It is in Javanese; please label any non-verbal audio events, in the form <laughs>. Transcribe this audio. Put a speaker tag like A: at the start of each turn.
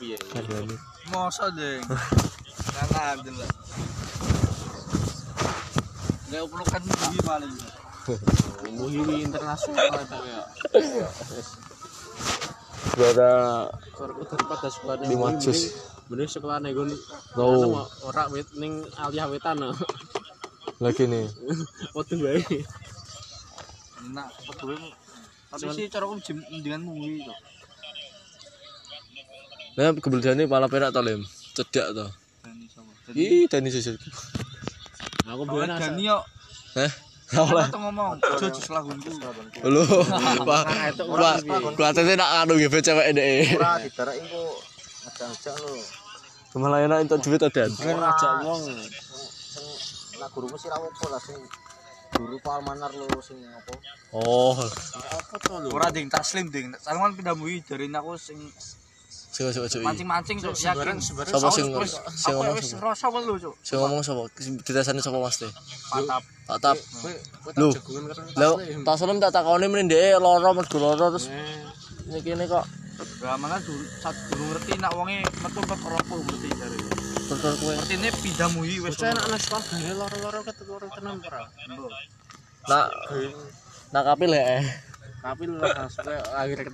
A: Piye?
B: Aduh, aduh.
A: Masa, Ding. Kangen lah. Gak pelukan gigi paling. Muhiwi internasional itu ya.
B: Berada
A: Korku daripada sekolah
B: Lima juz.
A: Bener sekolah nih gun.
B: Tau.
A: Orang wit ning aliyah wetan. no. <laughs>
B: lagi nih.
A: Waduh bae. Nah, peduli. Tapi sih cara aku jem dengan muhiwi itu.
B: Nah, kebetulan ini pala perak to, Lim. Cedak to. Ih, Dani sisir.
A: Aku bukan asal. Dani yo.
B: Heh. Ora.
A: Kita ngomong. Jojo selagunku.
B: Lho,
C: <laughs>
B: Pak.
C: Nah,
B: Pak, kuatene nak anu ge cewek ndek.
C: Ora dibarak iku ngejak-ngejak lho.
B: Malah enak entuk duit to, Dan.
A: Pengen ngajak wong.
C: Sing lah guruku sira opo lah sing guru Pak Almanar lho sing apa?
B: Oh,
C: Apa to lho?
A: Ora ding taslim ding. Salman kan pindah muhi dari aku sing
B: sing sing sing.
A: mancing-mancing cuk yakin.
B: Sapa Iya. sing
A: Aku wis-
B: sing
A: aku
B: ngomong
A: wis
B: sapa?
A: rasa welu cuk.
B: Sing ngomong sapa? Ditesani sapa Mas Teh?
A: Mantap.
B: Tak tap. Lho. Lho, tak sono tak takoni meneh ndek lara mergo lara terus niki ne kok
A: Lah malah dulu saat dulu ngerti nak wonge metu ke keropok ngerti jare.
B: berkor kowe.
A: Ngerti ne pindah muhi wis.
C: anak sekolah gaya loro-loro keturunan tenan ora.
A: Mbok.
B: Nak nak kapil ya.
C: Tapi lho akhirnya